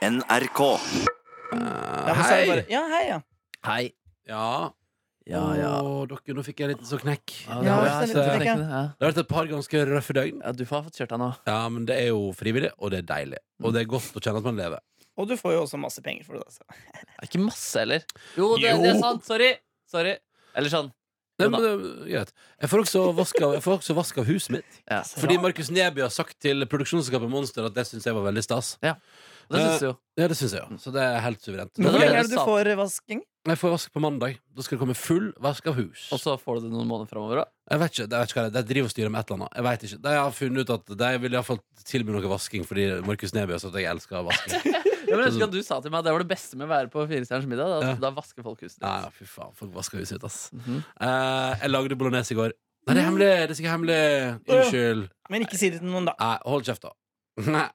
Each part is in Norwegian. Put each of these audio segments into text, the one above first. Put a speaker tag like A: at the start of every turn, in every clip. A: NRK.
B: Ja, men så er det bare, ja, hei, ja.
C: Hei.
D: Ja.
C: Ja, ja.
D: Åh, dere, nå fikk jeg en liten sånn knekk.
C: Ja,
D: det,
C: det
B: Ja,
D: har
C: var-
B: så
D: vært,
B: det er litt
D: eh,
B: knekk.
C: ja.
D: det har vært et par ganske røffe døgn.
C: ja, du får ha fått kjørt deg nå.
D: Ja, men det er jo frivillig, og det er deilig. Og det er godt å kjenne at man lever.
B: Og du får jo også masse penger for det. Altså.
C: Det er ikke masse heller. Jo, det,
D: Jo.
C: det er sant. Sorry. Sorry. Eller sånn.
D: Nei,
C: Jo da.
D: men det er greit. Jeg får også vask av, jeg får også vask av huset mitt.
C: Ja.
D: Fordi Markus Neby har sagt til produksjonsselskapet Monster at det syns jeg var veldig stas.
C: Og Det syns du jo.
D: Ja, det synes jeg jo. Så det er helt suverent.
B: Men hvor
C: det er
B: lenge
C: det
B: er det
C: sant.
B: du får vasking?
D: Jeg får vask på mandag. Da skal det komme full vask av hus.
C: Og så får du det noen måneder framover òg.
D: Jeg vet ikke, jeg vet ikke hva det er. De driver og styrer med et eller annet. Jeg vet ikke. De har funnet ut at de vil iallfall tilby noe vasking fordi Markus Neby har sagt at jeg elsker vasking.
C: Ja, men jeg husker at du sa til meg at det var det beste med å være på Firestjerners middag. Da,
D: Ja.
C: da vasker folk huset
D: Nei,
C: ditt.
D: fy faen. Folk vasker huset sitt, ass.
C: Mhm.
D: Eh, jeg lagde bolognese i går. Nei, det er hemmelig. Det er sikkert hemmelig. Unnskyld.
B: Men ikke si det til noen, da.
D: Nei, hold kjeft, da. Nei.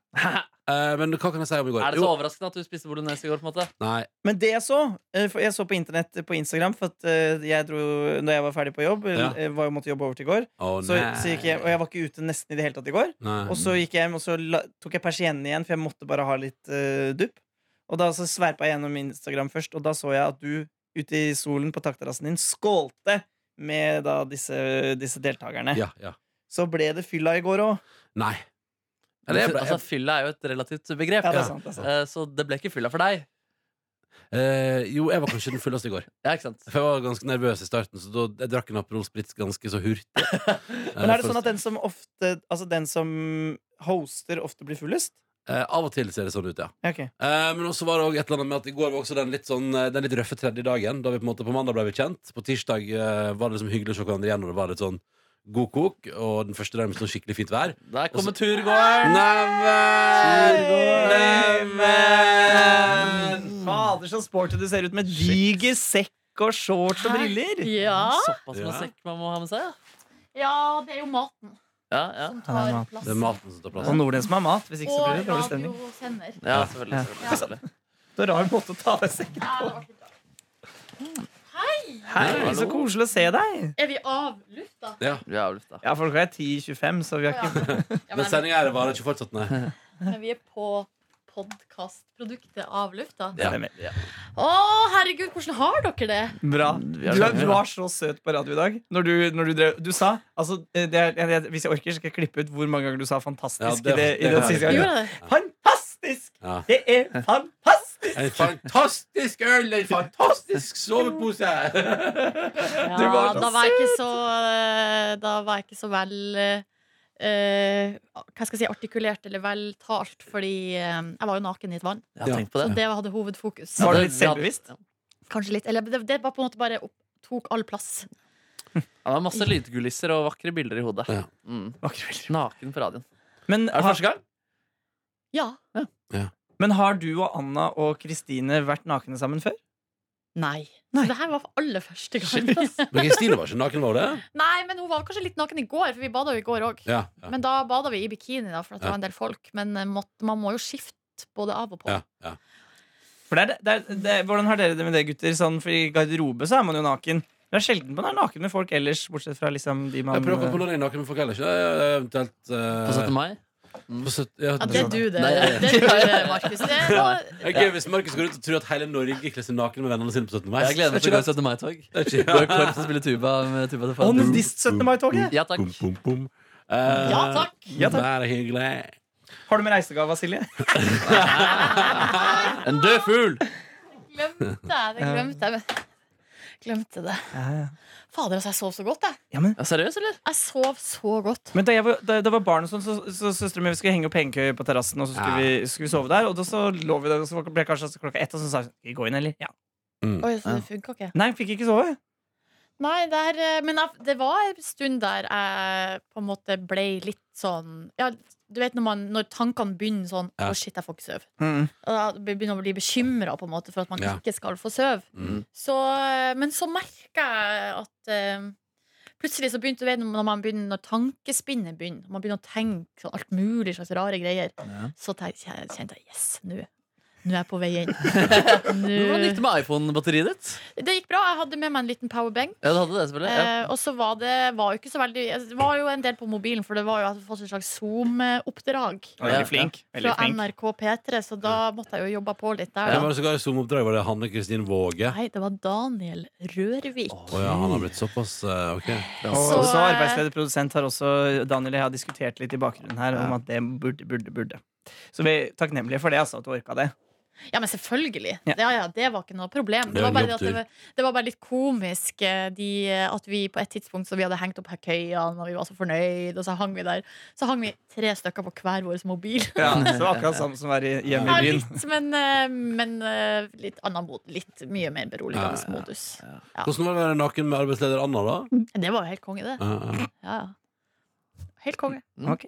D: Eh, men hva kan jeg si om i går?
C: Er det
D: Jo,
C: så overraskende at du spiste bolognese i går? på en måte?
B: sånn?
D: Nei.
B: Men det jeg så eh, for Jeg så på internett eh, på Instagram, for at eh, jeg dro Når jeg var ferdig på jobb,
D: Ja.
B: eh, var jo måtte jobbe over til i går,
D: Å,
B: så,
D: nei.
B: så gikk jeg, og jeg var ikke ute nesten i det hele tatt i går.
D: nei.
B: Og så gikk jeg hjem, og så la, tok jeg persiennen igjen, for jeg måtte bare ha litt eh, dupp. Og da så sveipa jeg gjennom Instagram først, og da så jeg at du ute i solen på takterrassen din skålte med da disse, disse deltakerne.
D: Ja, ja.
B: Så ble det fylla i går òg.
D: Nei. Eller, jeg, ble-
C: altså, Fylla er jo et relativt begrep.
B: Ja,
D: Ja.
B: det er sant. Det er sant.
C: Eh, Så det ble ikke fylla for deg.
D: Eh, jo, jeg var kanskje den fulleste i går.
C: Ja, ikke sant?
D: For Jeg var ganske nervøs i starten, så da, jeg drakk en Aperol Spritz ganske så hurtig. Eh,
B: Men er det sånn at den som ofte Altså den som hoster, ofte blir fullest?
D: Av og til ser det sånn ut, ja.
B: Ja, ok.
D: Eh, men også var det også et eller annet med at i går var også den litt, sånn, eh, den litt røffe tredje dagen. Da vi på, en måte, på mandag ble vi kjent. På tirsdag eh, var det liksom hyggelig å se hverandre igjen, og det var litt sånn god kok. Og den første dagen med sånn skikkelig fint vær.
C: Der
D: Og så-
C: kommer turgåeren!
D: Neimen! Neimen!
B: Fader, så sporty du ser ut med diger sekk og shorts og briller!
E: Ja.
C: Såpass med
D: Ja.
C: sekk man må ha med seg.
E: ja, det er jo maten
C: Ja, ja,
B: Ja,
E: som
B: det er
E: tar
B: mat.
E: plass.
D: Det er maten som tar plass.
B: Og Nordens som har mat. Hvis ikke så blir
E: Og
B: det dårlig stemning.
E: radiosender.
C: ja. ja selvfølgelig.
E: Ja.
C: selvfølgelig, selvfølgelig.
B: Det er en rar måte å ta av sekken
E: Ja, det var ikke bra.
B: Hei, så koselig å se deg!
E: Er vi av lufta?
D: Ja.
C: Vi er avlyst, da.
B: Ja, folk er 10-25, så vi har ikke
E: Ja,
D: Men
E: men,
D: sendinga her varer ikke fortsatt, nei.
E: men vi er på podkastproduktet av lufta.
D: Ja.
B: Stemmer.
E: Å, herregud, hvordan har dere det?
B: Bra.
C: er
B: Du, er- du var så søt på radio i dag. Når du, når du, drev, du sa altså, eh, det er, jeg, jeg, Hvis jeg orker, så skal jeg klippe ut hvor mange ganger du sa 'fantastisk'
D: Ja, det-
B: i det, i
D: det
B: den
D: har jeg
B: siste
D: ikke.
B: gangen.
E: Gjorde dere?
B: Fantastisk!
D: Ja.
B: Det er fantastisk!
D: En fantastisk øl, en fantastisk sovepose!
B: Du
E: Ja,
B: var så
E: da var jeg ikke så eh, Da var jeg ikke så vel eh, Hva skal jeg si artikulert eller vel talt, fordi eh, jeg var jo naken i et vann.
C: Ja, tenk på det.
E: Så det hadde hovedfokus.
B: Var du
C: det-
B: litt selvbevisst?
E: Kanskje litt, eller det, det var på en måte bare opp, tok all plass.
C: Ja, det er masse lydkulisser og vakre bilder i hodet.
D: Ja.
C: Mm.
B: Vakre bilder.
C: Naken på radioen.
B: Men,
C: Er det
B: har,
C: første gang?
E: Ja.
B: men har du og Anna og Kristine vært nakne sammen før?
E: Nei.
B: Nei.
E: Så det her var for aller første gang. Altså,
D: Men Kristine var ikke naken, var hun det?
E: Nei, men hun var kanskje litt naken i går, for vi bada jo i går òg.
D: Ja, ja,
E: Men da bada vi i bikini, da, for at det
D: Ja.
E: var en del folk. Men eh, måtte- man må jo skifte både av og på.
D: ja, ja.
B: For det er, det er, det er, hvordan har dere det med det, gutter? Sånn, for I garderobe så er man jo naken. Det er sjelden man er naken med folk ellers, bortsett fra liksom de man
D: Jeg prøver å komme noen inn naken, men folk heller ikke. Jeg er Eventuelt eh,
C: eh, På 17. mai?
D: på sytt- ja,
E: Ja, det er du, det.
C: Nei, ja, ja.
E: Det er du, det, Markus. Det er noe
D: Det er gøy hvis Markus går ut og tror at hele Norge kler seg naken med vennene sine på 17. mai.
C: Jeg gleder meg til å gå i 17. mai-tog. Gå i korps og spille tuba med tuba til
B: Å,
C: faren.
B: nudist 17. mai-toget!
C: Ja takk.
D: Bom, bom, bom. Eh,
E: Ja takk!
B: Ja, takk.
D: Det er hyggelig.
B: Har du med reisegave, Silje?
C: En død fugl!
E: Glemte jeg det. Glemte jeg men- Glemte det.
B: Ja, ja.
E: Fader, altså, jeg sov så godt, jeg.
B: Ja, men
C: Ja, seriøst, eller?
E: Jeg sov så godt.
B: Men da jeg var, da, da var barn og sånn, så, så søsteren min vi skulle henge opp hengekøye på terrassen, og så skulle, vi, skulle vi sove der. Og da så lå vi der, og så ble kanskje klokka ett, og så sa hun skal vi gå inn, eller? Ja.
E: Oi, så det funka ikke.
B: Nei, fikk ikke sove.
E: Nei, der, eh, men jeg- det var en stund der jeg på en måte ble litt sånn Ja, du vet når, man, når tankene begynner sånn
D: Ja.
E: Å, shit, jeg får ikke sove.
B: Mm.
E: Og da begynner man å bli bekymra for at man
D: Ja.
E: ikke skal få sove.
D: Mm.
E: Så, eh, men så merker jeg at eh, plutselig så begynte du vet, når man begynner Når tankespinnet begynner, og man begynner å tenke sånn alt mulig slags rare greier, så tenk- kjente jeg yes, nå. nå er jeg på vei inn.
C: Hvordan gikk
E: Nå-
C: det med iPhone-batteriet ditt?
E: Det gikk bra. Jeg hadde med meg en liten powerbank.
C: Ja, du hadde det, selvfølgelig. Ja.
E: Eh, og så var det var jo ikke så veldig altså, Det var jo en del på mobilen, for det var jo at jeg hadde fått et slags Zoom-oppdrag
B: Veldig flink. Veldig
E: fra
B: flink.
E: NRK P3, så da måtte jeg jo jobbe på litt der.
D: Hvem
E: Da.
D: var det som ga Zoom-oppdrag? Var det Hanne Kristin Våge?
E: Nei, det var Daniel Rørvik.
D: Å ja, han har blitt såpass eh, Ok.
B: Og
E: Så,
B: også
E: eh,
B: arbeidsleder produsent har også Daniel og jeg har diskutert litt i bakgrunnen her om at det burde, burde, burde. Så vi er takknemlige for det, altså, at du orka det.
E: Ja, men selvfølgelig.
B: Ja.
E: Ja. Ja, det var ikke noe problem.
D: Det
E: Det
D: er
E: var bare,
D: en
E: det at det, var- det var bare litt komisk eh, de, eh, at vi på et tidspunkt så vi hadde hengt opp her køyene, og vi var så fornøyd, og så hang vi der. Så hang vi tre stykker på hver vår mobil.
B: så det var akkurat samme som å være i- hjemme
E: Ja,
B: i byen.
E: litt, men, eh, men eh, litt annen mod, litt mye mer beroligende
D: Ja, ja,
E: modus.
D: Hvordan var det å være naken med arbeidsleder Anna, da? Eh,
E: Det var jo helt konge, det.
D: Ja, ja.
E: Ja, ja. Helt konge.
C: Mm.
B: Ok.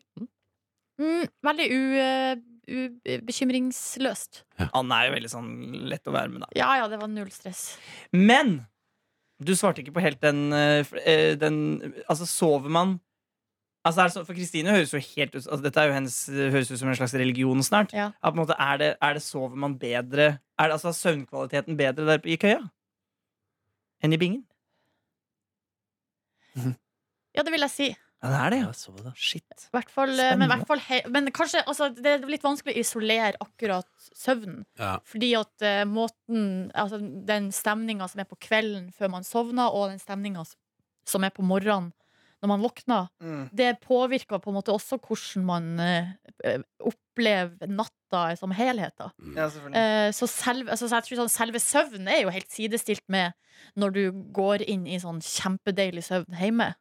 E: Mm, veldig u, eh, u, bekymringsløst.
B: Anne er jo veldig sånn lett å være med, da.
E: Ja ja, det var null stress.
B: Men du svarte ikke på helt den, eh, f- eh, den Altså, sover man Altså, er det sånn, For Kristine høres jo helt ut altså, Dette er jo hennes, høres ut som en slags religion snart.
E: Ja.
B: At på en måte, er det, er det Sover man bedre Er det altså søvnkvaliteten bedre der i køya enn i bingen?
E: Ja, det vil jeg si.
B: Ja, det er det,
C: Ja,
B: ja.
C: så det.
B: Shit.
E: hvert fall, eh,
B: Spennende.
E: men, hvert fall he men kanskje altså, Det er litt vanskelig å isolere akkurat søvnen.
D: Ja.
E: Fordi at eh, måten altså, Den stemninga som er på kvelden før man sovner, og den stemninga som er på morgenen når man våkner,
B: Mm.
E: det påvirker på en måte også hvordan man eh, opplever natta som helhet. Da.
D: Mm.
B: Ja, selvfølgelig.
E: Eh, så, selv, altså, så jeg tror sånn, selve søvnen er jo helt sidestilt med når du går inn i sånn kjempedeilig søvn hjemme.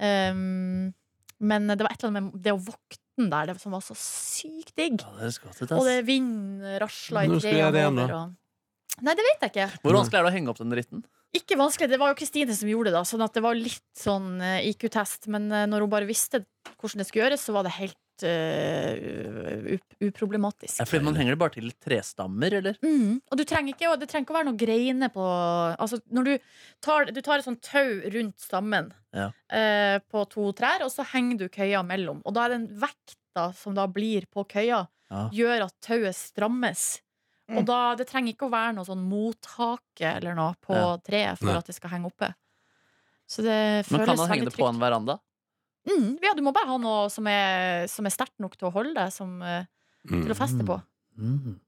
E: Um, men det var et eller annet med det å våkne der det som var så sykt digg.
C: Ja, det høres godt ut,
E: Og det
C: ass.
E: vind rasla i
D: Når skal jeg gjøre det
E: trærne
D: igjen,
E: over.
D: da?
E: Og... Nei, det vet jeg ikke.
C: Hvor vanskelig er det å henge opp den dritten?
E: Ikke vanskelig. Det var jo Kristine som gjorde det, da, sånn at det var litt sånn eh, IQ-test. Men eh, når hun bare visste hvordan det skulle gjøres, så var det helt eh, up- uproblematisk.
C: Er det fordi man henger det bare til trestammer, eller?
E: Mm. Og du trenger ikke, å- det trenger ikke å være noe greiner på altså, Når du tar, du tar et sånt tau rundt stammen
C: Ja.
E: eh, på to trær, og så henger du køya mellom. Og da er den vekta som da blir på køya,
C: Ja.
E: gjør at tauet strammes.
B: Mm.
E: Og da, det trenger ikke å være noe sånn mothake eller noe på
C: Ja.
E: treet for
D: Nei.
E: at det skal henge oppe. Så det
C: Man
E: føles
C: kan da henge
E: veldig
C: det på
E: trygt.
C: en veranda.
E: Mm, ja, du må bare ha noe som er, som er sterkt nok til å holde deg, som, eh, til å feste på.
C: Mm.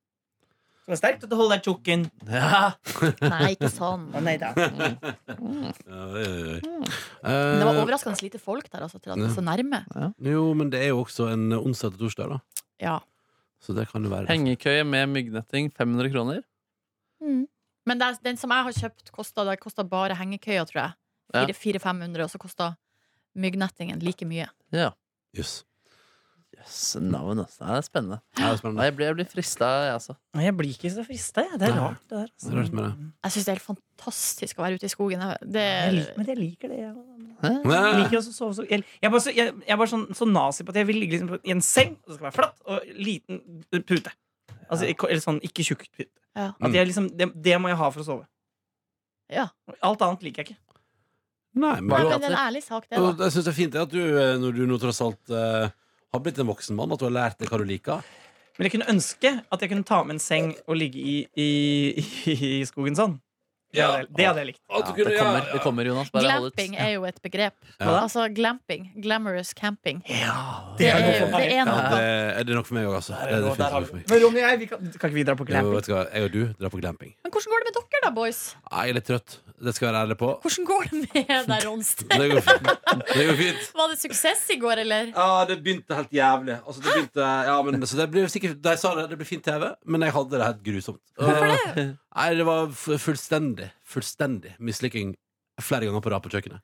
B: Så det er sterkt at du holder deg tjukken.
C: Ja. Mm.
E: Nei, ikke sånn.
B: Å, nei da.
D: Ja, oi, oi, oi.
E: Men Mm. det var
D: Eh,
E: overraskende lite folk der, altså, til at det var så nærme.
D: Jo, men det er jo også en onsdag til torsdag, da.
E: Ja.
D: Så det kan jo være
C: Hengekøye med myggnetting, 500 kroner.
E: Mm. Men det, er- den som jeg har kjøpt, kosta, det kosta bare hengekøya, tror jeg.
C: Ja.
E: Fire- 400-500, og så kosta myggnettingen like mye.
D: Jøss.
C: Jøss, navn, ass. Det er spennende.
D: Det er jo spennende.
C: Nei, jeg blir, jeg blir frista, jeg, altså.
B: Nei, Jeg blir ikke så frista, jeg. Det er
D: Nei.
B: rart, det der. altså. Mm.
D: Det er rart med det.
E: Jeg syns det er helt fantastisk å være ute i skogen. Jeg-
B: Jeg lik-
E: Det,
B: Men jeg liker det, jeg. Jeg
D: Nei.
B: liker også å sove så Jeg, jeg, er bare, så, jeg, jeg er bare sånn så nazi på at jeg vil ligge liksom på- i en seng, og det skal være flatt, og liten pute. Altså, ikke- Eller sånn ikke tjukk pute.
E: Ja.
B: At jeg liksom, det, det må jeg ha for å sove.
E: ja.
B: Alt annet liker jeg ikke.
D: Nei, men
E: Nei,
D: du,
E: men det er en ærlig sak, det.
D: og
E: da
D: jeg syns det er fint det at du, eh, når du nå tross alt eh, har blitt en voksen mann, at du har lært deg hva du liker.
B: Men jeg kunne ønske at jeg kunne ta med en seng og ligge i, i, i, i skogen sånn. Det hadde, jeg- det hadde jeg likt.
C: Ja,
D: At du
C: det,
D: kunne-
C: kommer,
D: ja,
C: det kommer, Jonas. Bare hold ut.
E: Glamping er jo et begrep.
D: Ja.
E: Altså glamping. Glamorous camping.
B: Det
E: Det
B: er noe
E: er,
B: for meg.
E: det er
D: Ja,
E: noe.
D: det, er det nok for meg òg, altså. Det er definitivt noe for meg.
B: Men Ronny og jeg, vi kan, kan ikke vi dra på
D: Jo,
B: glamping?
D: vet du hva, jeg og du drar på glamping.
E: Men hvordan går det med dere, da, boys?
D: Nei, Jeg er litt trøtt. Det skal jeg være ærlig på.
E: Hvordan går det med deg, Ronstein?
D: Det går fint. Det går fint.
E: Var det suksess i går, eller?
D: Ja, det begynte helt jævlig. Altså, det begynte, ja, men, så det blir sikkert, de sa det, det blir fin TV, men jeg hadde det helt grusomt. Hvorfor det? Nei, det var f- fullstendig, fullstendig mislykking flere ganger på rad på kjøkkenet.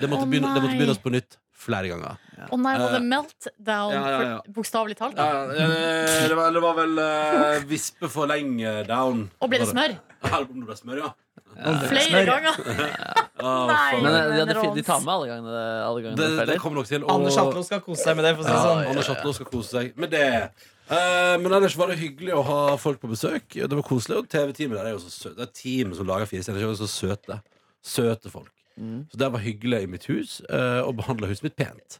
D: Det måtte,
E: Å,
D: begynne, det måtte
E: nei.
D: begynnes på nytt flere ganger.
E: Å nei, var det meltdown?
D: Eh, Ja, ja, ja. eh,
E: for- Bokstavelig talt?
D: det, var, vel eh, vispe for lenge down.
E: Og ble det smør?
D: Om det ble smør, ja.
E: Flere ganger? Nei. faen.
C: Men
D: det,
C: eh, de, hadde,
E: Rons.
C: fi- de tar med alle gangene alle gangene
D: eh, det,
C: det feiler.
D: kommer nok til. og-
B: Anders Hatlo skal kose seg med det. For å si det
D: Ja,
B: sånn.
D: Anders Hatlo skal kose seg med det. Eh, men ellers var det hyggelig å ha folk på besøk. Det var koselig. Og TV-teamet der er jo så søte. Det er teamet som lager fire stjerner. de er jo Så søte. Søte folk.
C: Mm.
D: Så det var hyggelig i mitt hus, eh, og behandla huset mitt pent.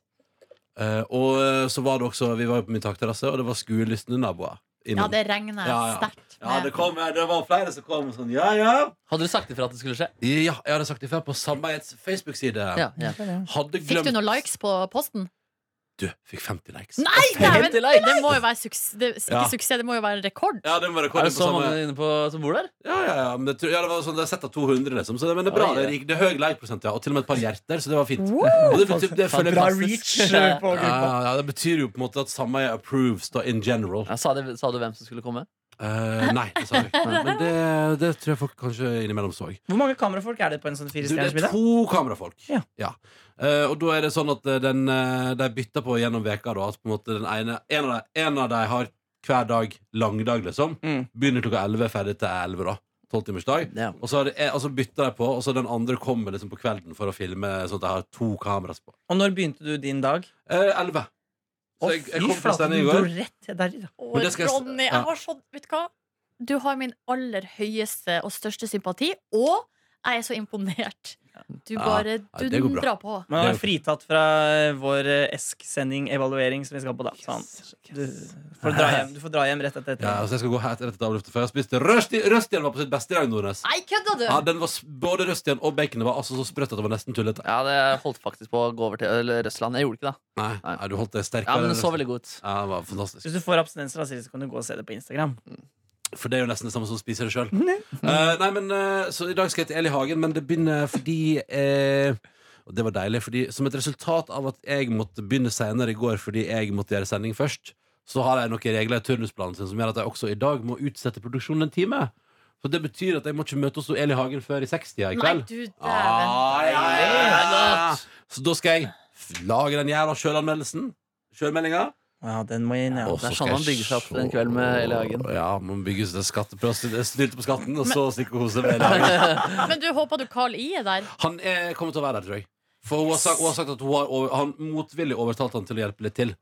D: Eh, og eh, så var det også Vi var jo på min takterrasse, og det var skuelystne naboer.
E: Ja,
D: innom.
E: det regner
D: Ja, ja.
E: sterkt.
D: Ja,
E: med.
D: det, kom, det var flere som kom og sånn Ja, ja.
C: Hadde du sagt ifra at det skulle skje?
D: Ja, jeg hadde sagt det før på sameiets Facebook-side.
C: Ja, ja.
D: Hadde glemt
E: Fikk du noen likes på posten?
D: Du, fikk 50 likes.
E: Nei!
C: Helt
E: dæven!
C: til deg.
E: Det må jo være suks det, ikke
D: Ja.
E: suksess, det må jo være en rekord.
D: Ja, det sånn var
C: Er det
D: rekorden på
C: så mange
D: samme
C: inne på, som bor der?
D: Ja, ja, ja. Men det, tror- ja, det var sånn, det er sett av 200, liksom. Så det, men det er bra.
C: Oi,
D: Det
C: ja.
D: er, rik- det er høy like-prosent, ja. Og til og med et par hjerter, så det var fint.
E: Wow!
D: Og det, betyr, det, føler jeg
B: Bra
D: ja,
B: reach
C: Fantastisk.
B: eh, på gruppa.
D: ja, ja, det betyr jo på en måte at sameie approves, da, in general.
C: Ja, sa, de, sa du hvem som skulle komme?
D: Eh, nei, det sa jeg ikke. Men det, det tror jeg folk kanskje innimellom så.
B: Hvor mange kamerafolk er det på en sånn
D: Du, det
B: firestjerners
D: er
B: middag?
D: to kamerafolk.
B: Ja.
D: Eh, og da er det sånn at eh, den, eh, de bytter på gjennom veka da, at på en måte den ene, en, av de, en av de har hver dag langdag, liksom.
B: Mm.
D: Begynner klokka 11, ferdig til 11, da. Tolvtimersdag.
C: Ja.
D: Og så, har de- eh, og så bytter de på, og så den andre kommer liksom på kvelden for å filme sånn at de har to kameras på.
B: Og når begynte du din dag?
D: Eh, 11.
B: Å,
D: Så jeg, jeg
B: fy
D: kom på
B: flate,
D: sending i
B: du
D: går.
B: går rett der, da.
E: Og
D: Men det skal jeg s-
E: Ronny,
D: ja.
E: jeg har sånn, vet du hva? Du har min aller høyeste og største sympati, og jeg er så imponert. Du
D: Ja.
E: bare
D: Ja, det går bra.
E: dundrer på.
B: Man
D: Det er jo-
B: er fritatt fra vår eh, ESK-sending, evaluering, som vi skal på da. Så han- Du, får dra hjem, du får dra hjem rett etter dette.
D: Ja, altså jeg skal gå helt rett etter avluftet, for jeg har spist røst Røst igjen var på sitt beste i dag, Nordnes.
E: Nei, kødda du!
D: Ja, den var, s- både røst igjen og baconet var altså så sprøtt at det var nesten tullete.
C: Ja, det holdt faktisk på å gå over til eller Røsland. Jeg gjorde ikke det.
D: Nei, nei, du holdt deg
C: Ja,
D: sterkere.
C: Men det så veldig godt ut.
D: Ja, det var fantastisk.
B: Hvis du får abstinenser av Siri, så kan du gå og se det på Instagram.
D: For det er jo nesten det samme som å spise det sjøl. nei, men eh, Så i dag skal jeg til Eli Hagen, men det begynner fordi eh, Og det var deilig, fordi som et resultat av at jeg måtte begynne senere i går fordi jeg måtte gjøre sending først, så har jeg noen regler i turnusplanen sin som gjør at jeg også i dag må utsette produksjonen en time. Så det betyr at jeg må ikke møte hos Eli Hagen før i 60-tida i
E: Nei,
D: kveld.
E: du dæven.
D: Ah, ja, ja, ja.
C: godt.
D: Så da skal jeg f- lage den jævla sjølanmeldelsen. Sjølmeldinga.
B: Ja, den må jeg inn, ja.
D: Og
C: det er
D: så skal
C: sånn man
D: jeg
C: bygger seg opp
D: se-
C: en kveld med Eli Hagen.
D: Ja, man bygger seg skatteprost. Jeg Snylter på skatten, og så stikker hun seg med Eli Hagen.
E: Men du håpa du Carl I er der.
D: Han er, kommer til å være der, tror jeg. For hun har sagt, hun har sagt at hun har over, han motvillig overtalt han til å hjelpe litt til.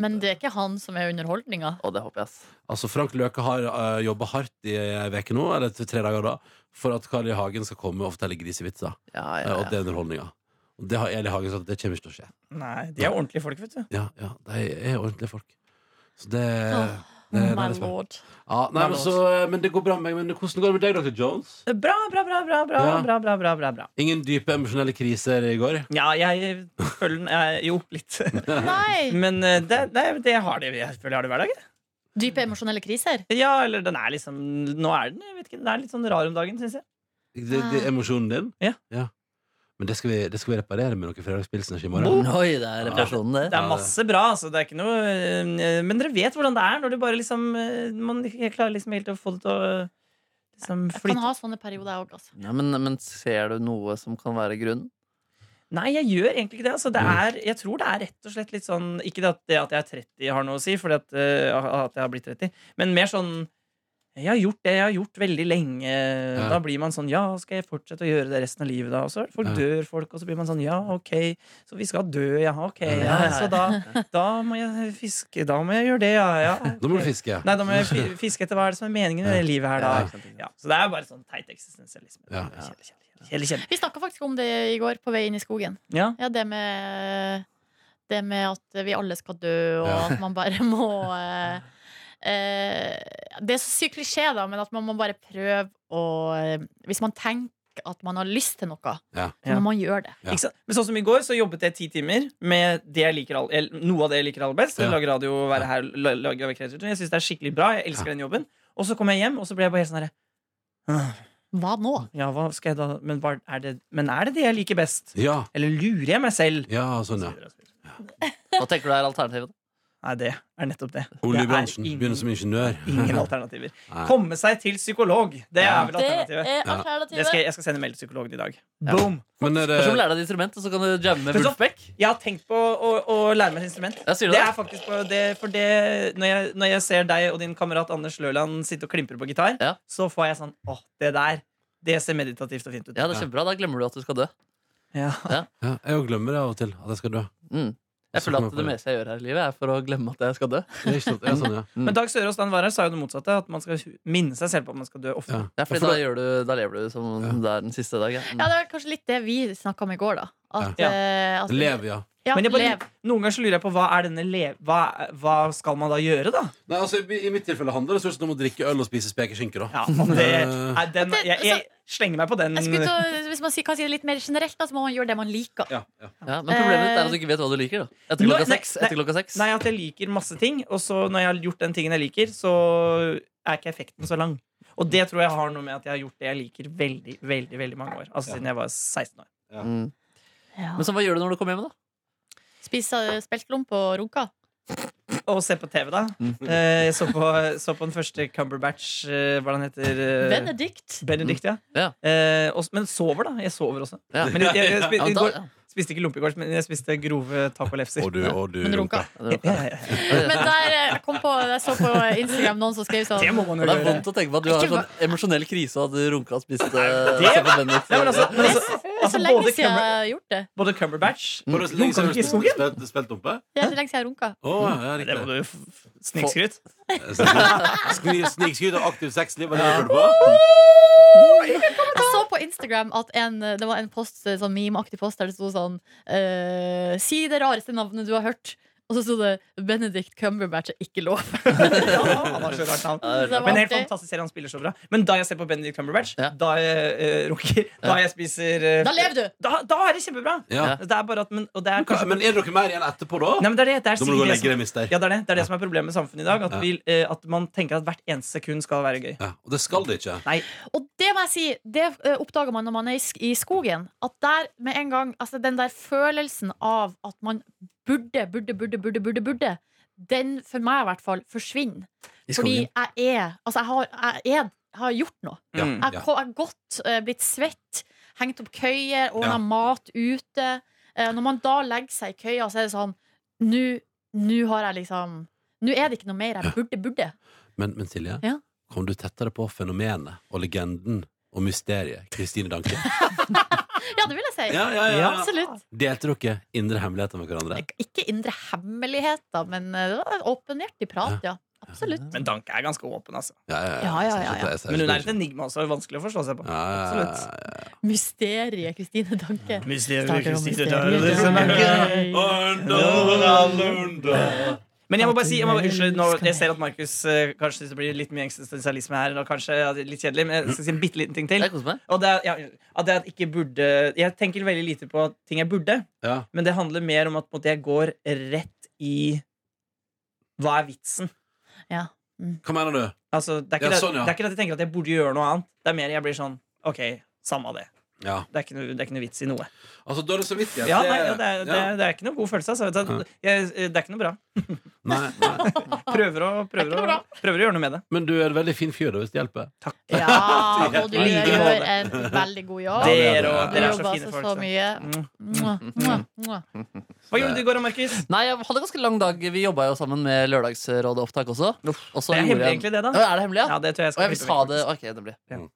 E: Men det er ikke han som er underholdninga.
C: Og det håper jeg, ass.
D: Altså Frank Løke har uh, jobba hardt i ei uke nå, eller til tre dager da, for at Kari Hagen skal komme og fortelle grisevitser.
C: Ja,
D: eh,
C: ja,
D: Og
C: ja.
D: det er underholdninga. Og det har Eli Hagen sagt at det kommer ikke til å skje.
B: Nei, de er ordentlige folk, vet du.
D: Ja, ja, De er ordentlige folk. Så det,
E: Åh,
D: det, det
E: Oh My
D: er litt spennende.
E: lord.
D: Ja, nei, men, så, eh, men det går bra med meg. Men hvordan går det med deg, dr. Jones?
B: Bra, bra, bra, bra, bra,
D: Ja.
B: bra, bra, bra, bra, bra.
D: Ingen dype emosjonelle kriser i går?
B: Ja, jeg føler den eh, Jo, litt.
E: Nei!
B: Men eh, det, det, det har de. Jeg føler jeg har det hver dag. jeg.
E: Dype emosjonelle kriser.
B: Ja, eller den er liksom Nå er den jeg vet ikke, Den er litt sånn rar om dagen, syns jeg.
D: Det, det, emosjonen din?
B: Ja.
D: Men det skal, vi, det skal vi reparere med noe fredagspilsen i morgen.
C: Oi, det er reparasjonen,
B: Det
C: det.
B: er masse bra, altså. Det er ikke noe eh, Men dere vet hvordan det er når det bare liksom eh, Man ikke klarer liksom helt å få det til å eh, liksom
E: Jeg kan
B: flyte.
E: ha sånne perioder, jeg òg, altså.
C: Ja, men, men ser du noe som kan være grunnen?
B: Nei, jeg gjør egentlig ikke det. Altså, det er, jeg tror det er rett og slett litt sånn Ikke det at, det at jeg er 30 har noe å si, fordi at, eh, at jeg har blitt 30, men mer sånn jeg har gjort det jeg har gjort veldig lenge. Da blir man sånn Ja, skal jeg fortsette å gjøre det resten av livet, da? Og så folk
D: Ja.
B: dør folk, og så blir man sånn Ja, ok, så vi skal dø, ja, ok.
D: Ja.
B: Ja, så da, da må jeg fiske. Da må jeg gjøre det, ja, ja.
D: Da må du fiske.
B: Nei, da må jeg fi- fiske etter hva er det som er meningen med det livet
C: Ja,
B: her,
C: ikke
B: da.
C: sant, ikke sant.
B: Ja, så det er bare sånn teit eksistensialisme.
D: Ja.
B: Kjedelig, kjedelig, kjedelig, kjedelig.
E: Vi snakka faktisk om det i går på vei inn i skogen.
B: Ja.
E: Ja, det med, det med at vi alle skal dø, og
D: Ja.
E: at man bare må eh, eh, Det er så sykt klisjé, da, men at man må bare prøve å eh, Hvis man tenker at man har lyst til noe,
D: Ja.
E: så
B: Ja.
E: må man gjøre det.
D: Ja.
B: Ikke sant? Men sånn som i går, så jobbet jeg ti timer med det jeg liker all, el- noe av det jeg liker aller best.
D: Ja.
B: Lage radio, være her, la- lage kreativt. Jeg syns det er skikkelig bra. Jeg elsker den jobben. Og så kom jeg hjem, og så ble jeg bare helt sånn herre «Åh,
E: Hva nå?
B: Ja, hva skal jeg da men, hva er det, men er det det jeg liker best?
D: Ja,
B: Eller lurer jeg meg selv?
D: ja sånn, ja.
C: Hva tenker du er alternativet?
B: Nei, det er nettopp det.
D: Oljebransjen.
B: Det er
D: Begynner som ingeniør.
B: Ingen alternativer.
D: Nei.
B: Komme seg til psykolog. Det er vel
E: Det
B: alternativet.
E: er
D: Ja.
B: Det skal,
E: alternativet.
B: jeg- jeg skal sende melding til psykologen i dag.
C: Ja.
B: Boom!
D: Men er det
C: Kanskje du lærer deg et instrument, og så kan du jamme med
B: Men så-
C: Wolfbeck?
B: Jeg har tenkt på å, å lære meg et instrument.
C: Ja, sier du
B: Det
C: det?
B: er faktisk på det, for det når jeg, når jeg ser deg og din kamerat Anders Løland sitte og klimpre på gitar,
C: Ja.
B: så får jeg sånn Åh, det der. Det ser meditativt og fint ut.
C: Ja, det er kjempebra. Da glemmer du at du skal dø.
B: Ja.
D: ja, Jeg jo glemmer det av og til, at jeg skal dø.
C: Mm. Jeg
D: Så
C: føler at
D: kommer jeg på
C: det
D: det.
C: meste jeg gjør her i livet, er for å glemme at jeg skal dø.
D: Det er ikke sant. Ja, sånn, ja.
B: Men Dag Sørås da han var her, sa jo det motsatte. At man skal hu- minne seg selv på at man skal dø ofte.
D: Ja.
C: Ja, fordi
D: for
C: da,
D: da-
C: gjør du, da lever du som det er den siste dagen.
E: Ja, det var kanskje litt det vi snakka om i går, da. At,
B: Ja.
E: eh, at-
D: Lev, ja.
E: Ja,
B: Men jeg bare,
E: lev.
B: noen ganger så lurer jeg på hva, er denne le hva, hva skal man da gjøre, da?
D: Nei, altså, I i mitt tilfelle handler det stort sett om å drikke øl og spise spekeskinke. da
B: Ja, om det, er den, jeg, jeg slenger meg på den.
E: altså- Jeg skulle ta, hvis man sier, kan si det litt mer generelt, da, så må man gjøre det man liker.
D: ja, ja.
C: Ja, men problemet ditt er at du ikke vet hva du liker. da Etter
B: Nei,
C: klokka
B: nei,
C: seks.
B: nei.
C: Etter klokka seks.
B: Nei, at jeg liker masse ting, og så når jeg har gjort den tingen jeg liker, så er ikke effekten så lang. Og det tror jeg har noe med at jeg har gjort det jeg liker veldig, veldig veldig mange år. Altså siden jeg var 16 år.
C: Mm.
E: Ja.
C: Men så hva gjør du når du kommer hjem, da?
E: Spise speltlomp og runka.
B: Og se på TV, da.
C: Mhm.
B: Eh, Jeg så på, så på den første Cumberbatch eh, Hva den heter eh,
E: Benedikt.
B: Benedict, ja.
C: Ja.
B: Eh, og, men sover, da. Jeg sover også.
C: Ja.
B: Men jeg, jeg, jeg, spi-
C: Ja, men
B: i
C: da,
B: går, spiste ikke lompe i går, men jeg spiste grove tacolefser.
D: Og du, og du
E: Men runka.
C: ja,
D: runka.
C: det,
B: Ja, ja, ja.
E: Men der eh, jeg kom på, jeg så på Instagram noen som skrev sånn
B: Det må man
C: Og
B: jo
C: det er
B: gjøre.
C: vondt å tenke på at du har
E: Ikke
C: sånn emosjonell krise og at du runka og spiste
B: det-
C: se på Bennett.
B: Nei, men altså, men
E: Det er
B: altså,
E: så- det er
B: altså
E: så lenge
B: både,
E: siden jeg
B: Cumber,
E: har gjort det.
B: både Cumberbatch
C: Mm.
D: Var det så lenge
B: Runka
D: siden
B: du ikke i
D: du
B: skogen?
D: spilte- spilte oppe?
E: Det er så lenge siden jeg har runka.
D: Å, ja,
B: Det må
D: riktig.
B: du f- f- Snikskryt.
D: Skri- Snikskudd og aktivt sexliv, var det det du følte på?
E: Jeg så på Instagram at en, det var en post, sånn meme-aktig post der det sto sånn eh, Si det rareste navnet du har hørt. Og så sto det Benedict Cumberbatch er ikke lov.
B: Ja, han har så rart
C: Ja,
B: navn.
C: det er
E: Det var
B: Men helt
E: artig.
B: fantastisk serie, han spiller så bra. Men da jeg ser på Benedict Cumberbatch,
C: Ja.
B: da jeg eh, runker, da jeg spiser eh,
E: Da lever du!
B: da, da er det kjempebra!
D: Ja.
B: Det er bare at men, Og det er
D: Hva-
B: kanskje
D: Men er dere mer igjen etterpå,
B: Nei,
D: da?
B: men det er det. Det er
D: Da må du gå og
B: sikkert det
D: legge
B: som,
D: deg, mister.
B: ja, det er det. Det er det som er problemet med samfunnet i dag. At,
D: Ja.
B: vi, eh, at man tenker at hvert eneste sekund skal være gøy.
D: Ja, og det skal det ikke.
B: Nei,
E: Og det må jeg si, det eh, oppdager man når man er i, sk i skogen. At der med en gang Altså den der følelsen av at man burde, burde, burde, burde, burde, burde den, for meg i hvert fall, forsvinner.
C: I
E: Fordi
C: skogen.
E: jeg er Altså, jeg har, jeg er, jeg har gjort noe.
D: Ja.
B: Mm.
E: Jeg ko- jeg har gått, eh, blitt svett, hengt opp køyer, ordna
D: Ja.
E: mat ute. Eh, Når man da legger seg i køya, så er det sånn Nå nå har jeg liksom Nå er det ikke noe mer jeg burde, burde.
D: Men, men Silje,
E: Ja.
D: kom du tettere på fenomenet og legenden og mysteriet Kristine Danke?
E: Ja, det vil jeg si.
B: ja.
E: Absolutt.
D: Delte dere indre hemmeligheter med hverandre?
E: Ik- Ikke indre hemmeligheter, men eh, det var en åpenhjertig prat, ja. Absolutt.
B: men Danke er ganske åpen, altså.
E: Ja, ja, ja, ja.
B: Men hun er et enigma også. Vanskelig å forstå seg på.
D: Ja, ja, ja, ja, ja.
E: Mysteriet Kristine Danke. Starter om
B: Men
E: mysteriet.
B: jeg må bare si jeg må bare, Unnskyld, nå, jeg ser at Markus eh, kanskje synes det blir litt mye eksistensialisme her. Og kanskje ja, det er litt kjedelig, men jeg skal si en bitte liten ting til.
C: Jeg koser meg.
B: Og det er, ja, at jeg ikke burde Jeg tenker veldig lite på ting jeg burde,
D: Ja.
B: men det handler mer om at på en måte, jeg går rett i Hva er vitsen?
D: Hva mener du?
B: Altså, det, er
D: Ja,
B: ikke
D: sånn, ja.
B: det, det er ikke at jeg tenker at jeg burde gjøre noe annet. Det er mer jeg blir sånn OK, samme av det.
D: Ja.
B: Det er ikke noe, det er ikke noe vits i noe.
D: Altså, dårlig samvittighet
B: Ja, nei, ja, det, er, det, er, det er ikke noe god følelse. Altså. Vet du hva, Jeg, det er ikke noe bra.
D: Nei, nei.
B: Prøver å, prøver, å, prøver å gjøre noe med det.
D: Men du er en veldig fin fyr, da, hvis det hjelper.
E: Ja, og du
B: I like
E: gjør
B: måte.
E: en veldig god jobb.
D: det er det.
B: dere, og,
E: Dere
B: dere er
E: jobber
B: så fine
E: altså så
B: folk.
E: mye.
B: Mm.
E: Mwah, mwah, mwah.
B: Så. Hva gjorde du i går, Markus?
C: Nei, jeg hadde ganske lang dag. Vi jobba jo sammen med Lørdagsrådet-opptak også. Og så
B: Det er
C: gjorde
B: hemmelig,
C: jeg-
B: egentlig, det,
C: Ja,
B: da.
C: er det hemmelig, ja?
B: Ja, det
C: Og
B: tror jeg skal Sånn.
C: jeg
B: klippe
C: sa
B: vekk,
C: det
B: faktisk.
C: Ok, det blir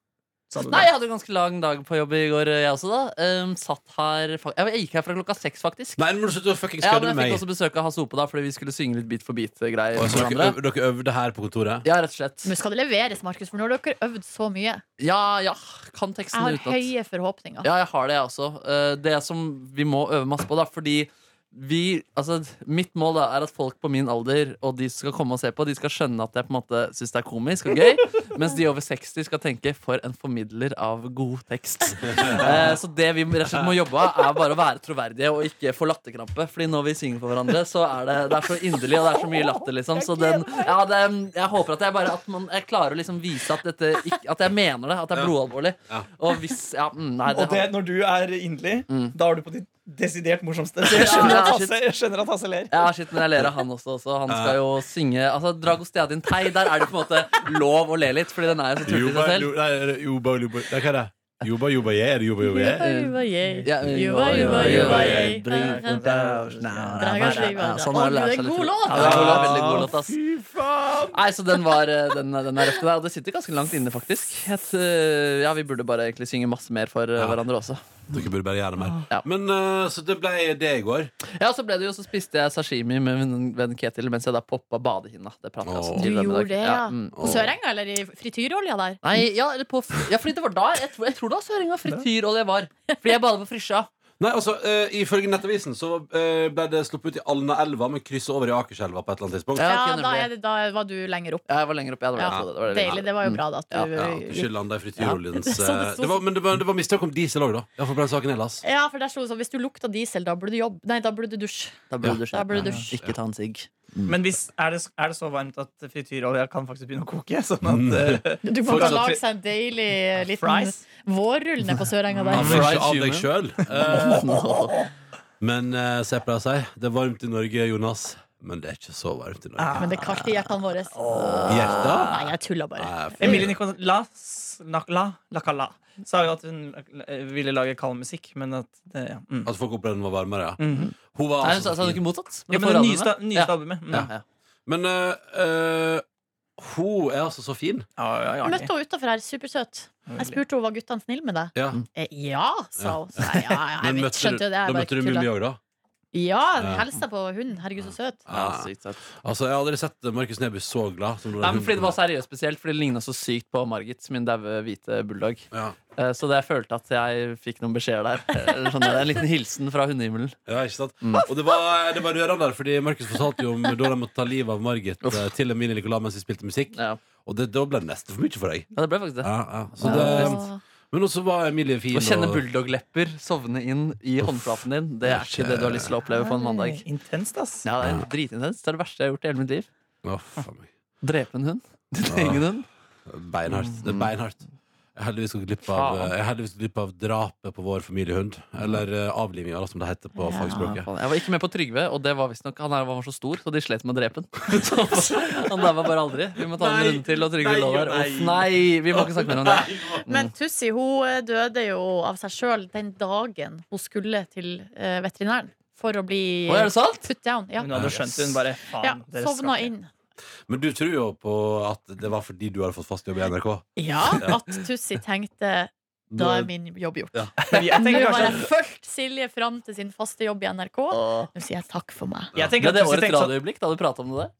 B: Sa du det?
C: Nei, jeg hadde jo ganske lang dag på jobb i går, jeg også, da. Ehm, satt her fa- Jeg gikk her fra klokka seks, faktisk.
D: Nei, nå må du slutte å fuckings
C: Ja,
D: kødde
C: men
D: med
C: jeg
D: meg.
C: fikk også besøk av Hasse Ope, da, fordi vi skulle synge litt Bit for bit-greier.
D: Og
C: for
D: så dere,
C: hverandre.
D: øv, dere øvde her på kontoret?
C: Ja, rett og slett.
E: Men skal det leveres, Markus? For nå har dere øvd så mye.
C: Ja, ja. Kan
E: Jeg
C: teksten
E: har
C: utenat.
E: høye forhåpninger.
C: Ja, jeg har det, jeg også. Eh, Det som vi må øve masse på, da, fordi vi, altså, mitt mål da, er at folk på min alder og de som skal komme og se på, De skal skjønne at jeg på en måte syns det er komisk og gøy. Mens de over 60 skal tenke 'for en formidler av god tekst'. Eh, Så det vi rett og slett må jobbe av, er bare å være troverdige og ikke få latterkrampe. Fordi når vi synger for hverandre, så er det, det er så inderlig, og det er så mye latter, liksom. Så den, ja, det, jeg håper at jeg bare at man, jeg klarer å liksom vise at, dette, ikke- at jeg mener det, at det er
D: Ja.
C: blodalvorlig.
D: Ja.
C: Og hvis ja, mm, nei,
B: Og det, når du er inderlig,
C: Mm.
B: da er du på ditt desidert morsomste. Så jeg skjønner
C: Ja,
B: at
C: shit.
B: Hasse, jeg skjønner at Hasse ler.
C: Ja, shit, men jeg ler av han også. også. Han skal jo synge altså, Dragostiadin Tei. Der er det på en måte lov å le litt, Fordi den er jo så tullete i seg selv.
D: Juba, juba Hva er det? Juba, juba, jeg er det juba, juba, jeg?
E: Juba, yay.
C: Ja,
E: Juba, juba, juba, yay.
C: Ja, sånn er det å lære
E: altså. Å, det er
C: seg
E: god
C: litt.
E: låt.
C: Ja, det er god låt, veldig god låt, ass.
B: Fy faen!
C: Nei, så den var eh, Den, den er røft til deg. Og det sitter ganske langt inne, faktisk. Et, eh, ja, vi burde bare egentlig synge masse mer for eh,
D: Ja.
C: hverandre også.
D: Dere burde bare gjøre det mer.
C: Ja.
D: Men eh, Så det ble det i går.
C: Ja, så ble det jo Så spiste jeg sashimi med min venn Ketil mens jeg da poppa badehinna. Det pratet jeg også om
E: Du
C: tidligere i dag.
E: gjorde det, ja.
C: mm.
E: På Sørenga, eller i frityrolja der?
C: Nei, ja, eller på, ja, fordi det var da Jeg tror, jeg tror det var søring av frityrolje var. Fordi jeg badet på Frisja.
D: Nei, altså, eh, Ifølge Nettavisen så eh, ble det sluppet ut i Alnaelva, men krysset over i Akerselva på et eller annet tidspunkt.
C: Ja,
E: Ja,
C: ok,
E: da,
C: nemlig.
E: er det, da var du lenger opp.
C: Jeg var lenger oppe. Jeg, det var det,
E: Ja,
C: det mm. var det.
E: Deilig. Det var jo bra, da. At du,
D: Ja, at du ikke landa i
E: Ja,
D: frityroljens
E: det er sånn det
D: eh,
E: står.
D: det var- Men det var, det var mistanke om diesel òg, da. Iallfall på den saken jeg las.
E: Ja, for der sto det sånn Hvis du lukta diesel, da burde du jobbe Nei, da burde du dusje.
C: Da burde du
D: Ja.
E: Da burde
C: skjerpe
E: du
C: deg.
E: skjerpe
C: Ikke ta en sigg.
B: Men hvis, er, det, er det så varmt at frityrolja kan faktisk begynne å koke? Sånn
E: Mm.
B: at eh,
E: Du må
B: Fortsatt
E: bare lage seg en deilig eh, liten
B: fries
E: vårrull nede på Sørenga der.
D: Ja, for
C: fried
D: ikke av deg sjøl. Eh,
C: Nei,
D: men eh, se på deg og si. Det er varmt i Norge, Jonas. Men det er ikke så varmt i
C: Mm.
D: Norge.
E: Men det er kaldt i hjertene våre.
D: Hjertet?
E: Ah. Nei, jeg tulla bare.
D: Nei, for-
B: Emilie Nicolas Nakla Lakala sa jo at hun eh, ville lage kald musikk, men at det, ja. Mm.
D: At folk opplevde den var varmere, ja.
B: Mhm.
D: Hun var
C: hun sa sa
D: altså så
C: hun
D: fin.
C: ikke motsatt.
B: ja men det
C: forholdene.
B: nyeste, nyeste albumet. Mm.
C: Ja. Ja, ja.
D: Men eh, eh, hun er altså så fin.
B: Ja, ja,
E: Jeg
B: artig.
E: møtte henne utafor her, supersøt. Jeg spurte henne var guttene snille med deg.
D: Ja.
E: Eh, Ja, sa hun. Så jeg, ja, ja, jeg
D: Men
E: vet,
D: møtte du-
E: skjønte jo det.
D: da
E: Jeg
D: møtte
E: bare
D: du Mummi
E: tulla.
D: òg, da?
E: Ja,
D: Ja.
E: hilsa på hunden. Herregud, så søt.
C: Ja,
D: Ah.
C: sykt søtt.
D: Altså, Jeg har aldri sett Markus Neby så glad. Som
C: Nei, men fordi det var seriøst spesielt, fordi det ligna så sykt på Margit, min daue hvite bulldog.
D: ja.
C: Eh, Så det jeg følte at jeg fikk noen beskjeder der. Eh, Skjønner du? En liten hilsen fra hundehimmelen.
D: ja, ikke sant? Og det var, eh, det var rørende, der, fordi Markus fortalte jo om da de måtte ta livet av Margit
C: Uff.
D: eh, til Emilie Nicolas mens de spilte musikk.
C: Ja.
D: Og det, da ble det nesten for mye for deg.
C: ja, det ble faktisk det.
D: Ja, ja. Så
C: Ja,
D: det,
E: Åh.
D: men også var Emilie fin.
C: Å kjenne
D: og-
C: bulldog-lepper sovne inn i håndflaten din, det er ikke det du har lyst til å oppleve på en mandag.
B: Intenst, ass.
C: Ja, Det er dritintenst. Det er det verste jeg har gjort i hele mitt liv.
D: Å, faen meg.
C: Drepe en hund. Din egen hund.
D: Beinhardt.
E: Mm.
D: Det er beinhardt. Jeg er heldigvis gått glipp av, eh,
C: Faen.
D: jeg er heldigvis gått glipp av drapet på vår familiehund. Eller eh, avlivinga, da, som det heter på
E: Ja.
C: Ja,
D: fagspråket.
C: faen. Jeg var ikke med på Trygve, og det var visstnok han her var så stor, så de slet med å drepe han. Så Han der var bare aldri. Vi må ta en
D: Nei,
C: runde til, og Trygve
D: nei
C: lå der.
D: og
C: Uff, nei! Vi må ikke snakke mer om det.
E: Men Tussi hun eh, døde jo av seg sjøl den dagen hun skulle til eh, veterinæren for å bli
C: Å, er det sant?
E: put down. Ja.
B: Hun hadde skjønt hun bare faen,
E: ja,
B: dere skal
E: sovna
B: ikke.
E: inn.
D: Men du tror jo på at det var fordi du hadde fått fast jobb i NRK?
E: Ja, at Tussi tenkte da er min jobb gjort.
B: Men Jeg
E: Nå
B: tenker
E: har
B: kanskje
E: jeg fulgt Silje fram til sin faste jobb i NRK. Nå sier jeg takk for meg.
C: Ble
B: jeg tenker at
C: det
B: Tussi
C: årets
B: tenkte sånn
C: radioøyeblikk da du prata om det der?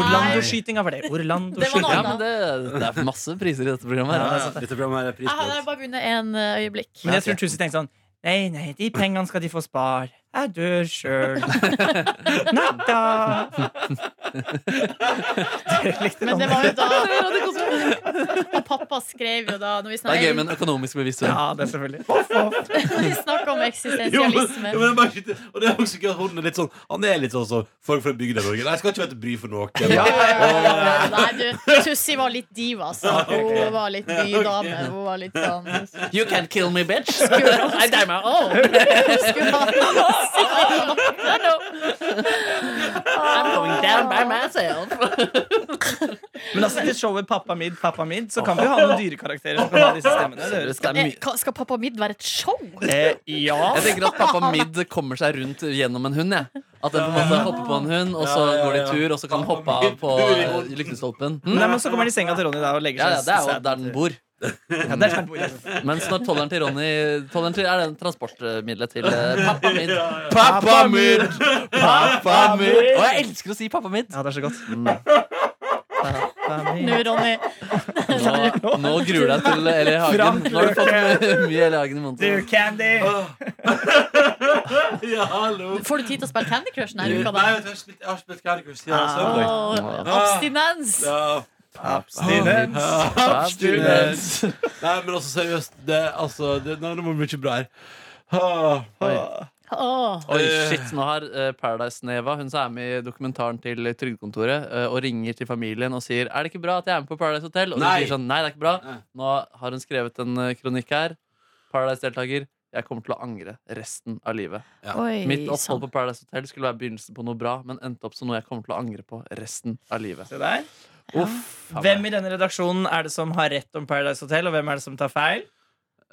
B: Orlando-skytinga var det.
E: Det var noe
C: Ja,
B: Orlando-skytinga.
C: men det, det er masse priser i dette programmet. her, altså.
D: Dette programmet er
E: Jeg hadde
D: prisbelagt.
E: bare vunnet en eh, øyeblikk.
B: Men jeg tror Tussi tenkte sånn Nei, nei, de pengene skal de få spar. Jeg dør sjøl. Natta! Dere likte
E: Men det
B: den.
E: var jo da Og pappa skrev jo da Når
C: Det er gøy
E: vi snakket
C: med en økonomisk bevissthet.
B: Ja, det er selvfølgelig. Voff, voff.
E: når vi snakket om
D: Jo, men, jo,
E: eksistensialisme.
D: men det er bare ikke- og det er også gøy at hunden er litt sånn Han er litt sånn som folk fra bygda i Norge. Nei, jeg skal ikke være til bry for noen.
E: Nei, du, Tussi var litt diva, altså. Hun var litt bydame. Hun var litt sånn
C: You can't kill me, bitch! I die my own.
E: Skulle ha
C: I'm going down by myself.
B: Men altså, til showet Pappa Mid, Pappa Mid, så kan vi jo ha noen dyrekarakterer som kan ha disse stemmene. Det høres.
C: Det er
E: Eh,
C: mye-
E: ka- Skal Pappa Midd være et show?
B: Eh, ja.
C: Jeg tenker at pappa Midd kommer seg rundt gjennom en hund. Jeg. At den på en måte hopper på en hund, og så
D: Ja, ja, ja,
C: går de
D: ja.
C: tur, og så kan den hoppe av på eh, lyktestolpen. Hm?
B: Nei, men så kommer de i senga til Ronny da og legger
C: Ja,
B: seg.
C: ja, det er jo der den bor.
B: Ja, der den bor. ja.
C: Mens når tolleren til Ronny Tolleren til er den transportmiddelet til eh, pappa Midd.
B: Pappa Midd!
C: Pappa Midd! Og jeg elsker å si pappa Midd.
B: Ja, det er så godt.
C: Mm.
E: Nå, Ronny.
C: Nå, nå gruer deg til Eli Hagen.
B: Frank
C: Nå har du fått mye, mye Eli Hagen i måneden.
B: Candy!
D: Ja, hallo.
E: Får du tid til å spille Candy Crush
D: Nei,
E: denne
D: vet du,
E: uka,
D: jeg
E: da?
D: har spilt- jeg har spilt Candy Crush siden søndag.
E: Åh, abstinens!
D: Ja.
B: Abstinens.
D: Abstinens. Nei, men altså, seriøst. Det, altså, det, nei, det var mye bra her. Ah.
E: Åh.
C: Oi, shit, nå har eh, Paradise Neva Hun som er med i dokumentaren til Trygdekontoret eh, Og ringer til familien og sier Er det ikke bra at jeg er med på Paradise Hotel? Og de
D: Nei.
C: sier sånn, nei det er ikke bra
D: Nei.
C: Nå har hun skrevet en eh, kronikk her Paradise-deltaker Jeg kommer til å angre resten av livet
E: Oi,
C: Mitt
E: sann.
C: opphold på Paradise Hotel skulle være begynnelsen på noe bra Men endte opp som noe jeg kommer til å angre på resten av livet
B: Se der.
C: Uff, faen
B: Hvem
C: meg.
B: i denne redaksjonen er det som har rett om Paradise Hotel, og hvem er det som tar feil?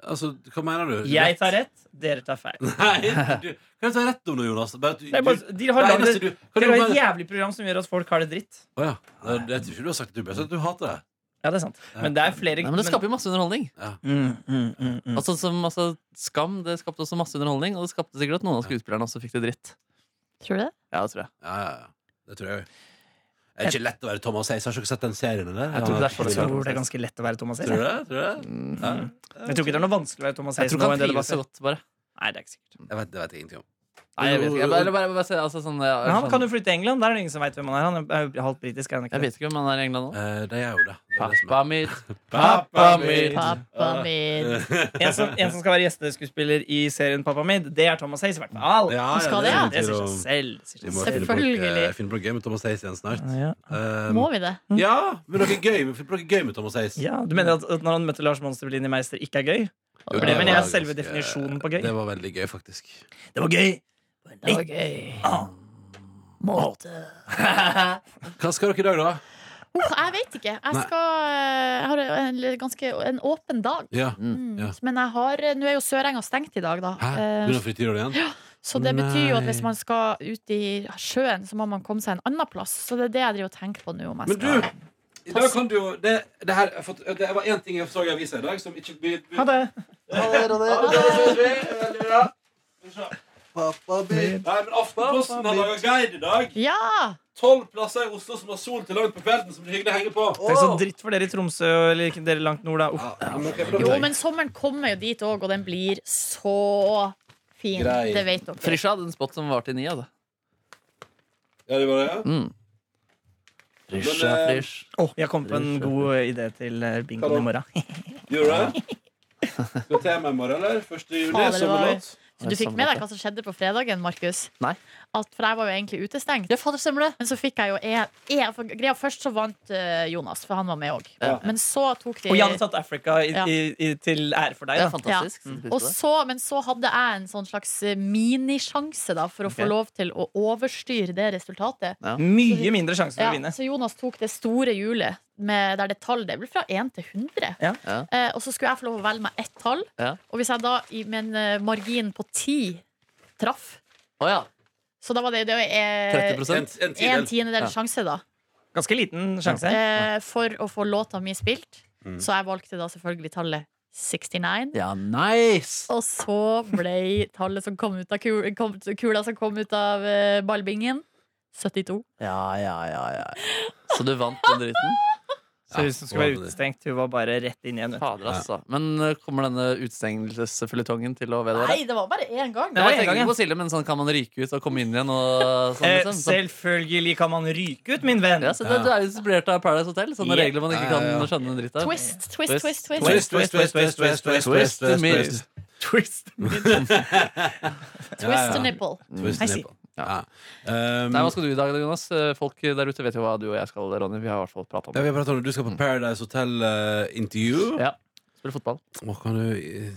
D: Altså, hva mener du?
B: Jeg tar rett, dere tar feil.
D: Nei, du, kan jeg ta rett om det, Jonas? Bare at du,
B: Det er
D: du-
B: bare, de har
D: det
B: laget
C: altså,
D: eneste
B: det
D: du- kan
B: det
D: du
B: er et
D: bare-
B: jævlig program som gjør at folk har det dritt.
D: Å ja. Nei, det- Jeg tror ikke du har sagt det du best, at du hater det.
B: Ja, det er sant. Men det er flere
C: Nei, men det skaper jo masse underholdning
B: Mm, mm, mm, mm.
C: Altså som altså, skam, det skapte også masse underholdning Og det skapte sikkert at noen av skuespillerne også fikk det dritt
E: Tror du det?
C: Ja, det tror jeg
D: Ja, ja, ja. Det tror jeg. Det er ikke lett å være Thomas Hayes. Har ikke dere sett den serien? Eller?
C: Jeg tror det er
B: Jeg
C: sånn
B: tror det er ganske lett å være Thomas
D: Tror
B: Hayes.
D: du det? Tror du det? Ja.
B: Jeg tror ikke det er noe vanskelig å være Thomas
C: Jeg
B: Hayes
C: tror
B: nå
C: ikke
B: enn
C: han
B: det det var
C: trives så
B: før.
C: godt, bare.
B: Nei, det er ikke sikkert.
D: Jeg vet, det vet jeg ingenting om.
C: Nei, jeg vet ikke. Jeg bare, jeg bare, jeg bare ser, altså, sånn, jeg,
B: Men han
C: sånn-
B: kan jo flytte til England. Der er det ingen som veit hvem han er. Han er jo halvt britisk. Er han
C: jeg
B: ikke det?
C: vet ikke hvem han er i England nå.
D: Eh, det er jo det. det, er det som
C: Pappa
D: er.
C: mitt.
B: Pappa mitt.
E: Pappa min.
B: En som, en som skal være gjesteskuespiller i serien Pappa Mid, det er Thomas Hayes, i hvert fall.
D: Ja, ja,
E: Skal
D: det,
E: det, ja?
B: Det
D: betyr
B: sier seg
D: å-
B: selv. Det
D: Vi
B: sier
D: må
B: seg
D: finne
B: selv.
D: på noe-
E: Selvfølgelig.
D: eh, finne på noe gøy med Thomas Hayes igjen snart.
B: Ja.
D: Um,
E: Må vi det?
D: Ja, men noe gøy med, noe gøy med Thomas Hayes.
B: Ja, Du mener at, at når han møtte Lars Monsterlin i Meister, ikke er gøy?
D: Jo,
B: For det mener jeg er
D: var
B: selve
D: ganske-
B: definisjonen på gøy.
D: Det var veldig gøy, faktisk.
B: Det var gøy!
E: Det var gøy.
B: Ah.
E: Måte.
D: Hva skal dere i dag, da?
E: Oh, jeg vet ikke. Jeg,
D: Nei.
E: skal, jeg har en ganske en åpen dag.
D: Ja.
E: Mm.
D: Ja.
E: Men jeg har, nå er jo Sørenga stengt i dag, da.
D: Hæ?
E: Eh,
D: Begynner frityrolje igjen?
E: Så det betyr jo at
D: Nei.
E: hvis man skal ut i sjøen, så må man komme seg en annen plass. Så det er det jeg driver og tenker på nå. Om jeg
D: Men
E: skal.
D: du, i dag kan du jo Det, det her jeg har fått- det var én ting jeg så i avisa i dag som ikke by, by,
B: Ha det!
D: Veldig bra. Nei, men Aftenposten har laga guide i dag.
E: Ja!
D: Tolv plasser i Oslo som har sol til langt på kvelden, som det er hyggelig å henge på.
B: Tenk så dritt for dere i Tromsø eller ikke dere langt nord, da. Uff.
D: Ja, men ok, for da-
E: Jo, men sommeren kommer jo dit òg, og den blir så fin.
D: Grei.
E: Det vet dere.
C: Frisja hadde en spot som var til ni. altså. Hadde.
D: Ja, det var det, ja.
C: Mm. Frisja,
D: Men, eh,
C: frisj.
B: Åh, jeg kom på en god idé til eh, bingoen i morgen.
D: Gjorde det? Skal temaet i morgen, eller? 1. juli,
E: Fader, det var-
D: sommerlåt.
E: Så du fikk med deg hva som skjedde på fredagen, Markus?
C: Nei.
E: At, for jeg var jo egentlig utestengt. Men så fikk jeg jo E. e for greia, først så vant eh, Jonas, for han var med òg.
D: Ja.
E: Men så tok de
B: Og Jan tatt Africa i,
E: Ja.
B: i, i, til ære for deg.
C: Det er
B: Da.
C: fantastisk.
B: Ja.
C: Setter
E: og
C: pris på det.
E: så, men så hadde jeg en sånn slags eh, minisjanse da, for å
B: Ok.
E: få lov til å overstyre det resultatet.
B: Mye mindre sjanse for
E: Ja,
B: å vinne.
E: så Jonas tok det store hjulet med, der det tallet det ble fra 1 til 100.
B: Ja.
C: Ja.
E: Eh, og så skulle jeg få lov å velge meg ett tall.
C: Ja.
E: Og hvis jeg da i- med en eh, margin på 10 traff,
C: Å ja.
E: så da var det, det er, eh,
C: 30
D: en
E: en
C: Ja.
E: tiendedel sjanse da
B: Ganske liten sjanse.
E: eh, for å få låta mi spilt.
C: Mm.
E: Så jeg valgte da selvfølgelig tallet 69.
C: Ja, nice!
E: Og så ble tallet som kom ut av kul, kom, kula som kom ut av eh, ballbingen, 72.
C: Ja, ja, ja, ja. Så du vant den driten?
B: Så hun som skulle være utestengt, hun var bare rett inn igjen. vet du.
C: Fader, altså. Men eh, kommer denne utestengelsesføljetongen til å vedvare?
E: Nei, det var bare én gang.
B: Det var
C: Jeg
B: en
C: tenker
B: gang,
C: ikke på Silje, men sånn kan man ryke ut og komme inn igjen og sånn,
B: Eh,
C: liksom. Så,
B: selvfølgelig kan man ryke ut, min venn!
C: ja, så det, du er jo inspirert av Paradise Hotel. Sånne
B: Ja.
C: regler man ikke
D: Ja, ja,
C: kan
D: ja.
C: skjønne en dritt av.
E: Twist, twist, twist. twist.
D: Twist, twist, twist, twist, twist, twist, twist,
C: Twist,
D: twist,
C: twist.
D: twist.
B: Twist.
E: Twist and nipple.
C: Mm.
D: Twist and
B: I see.
D: nipple. Ja. Um,
C: Nei, Hva skal du i dag, Jonas? Eh, Folk der ute vet jo hva du og jeg skal, Ronny. Vi har i hvert fall prata om
D: ja,
C: det.
D: vi har pratet om det. Du skal på Paradise Hotel-intervju.
C: Ja. Spille fotball.
D: Hva kan du eh,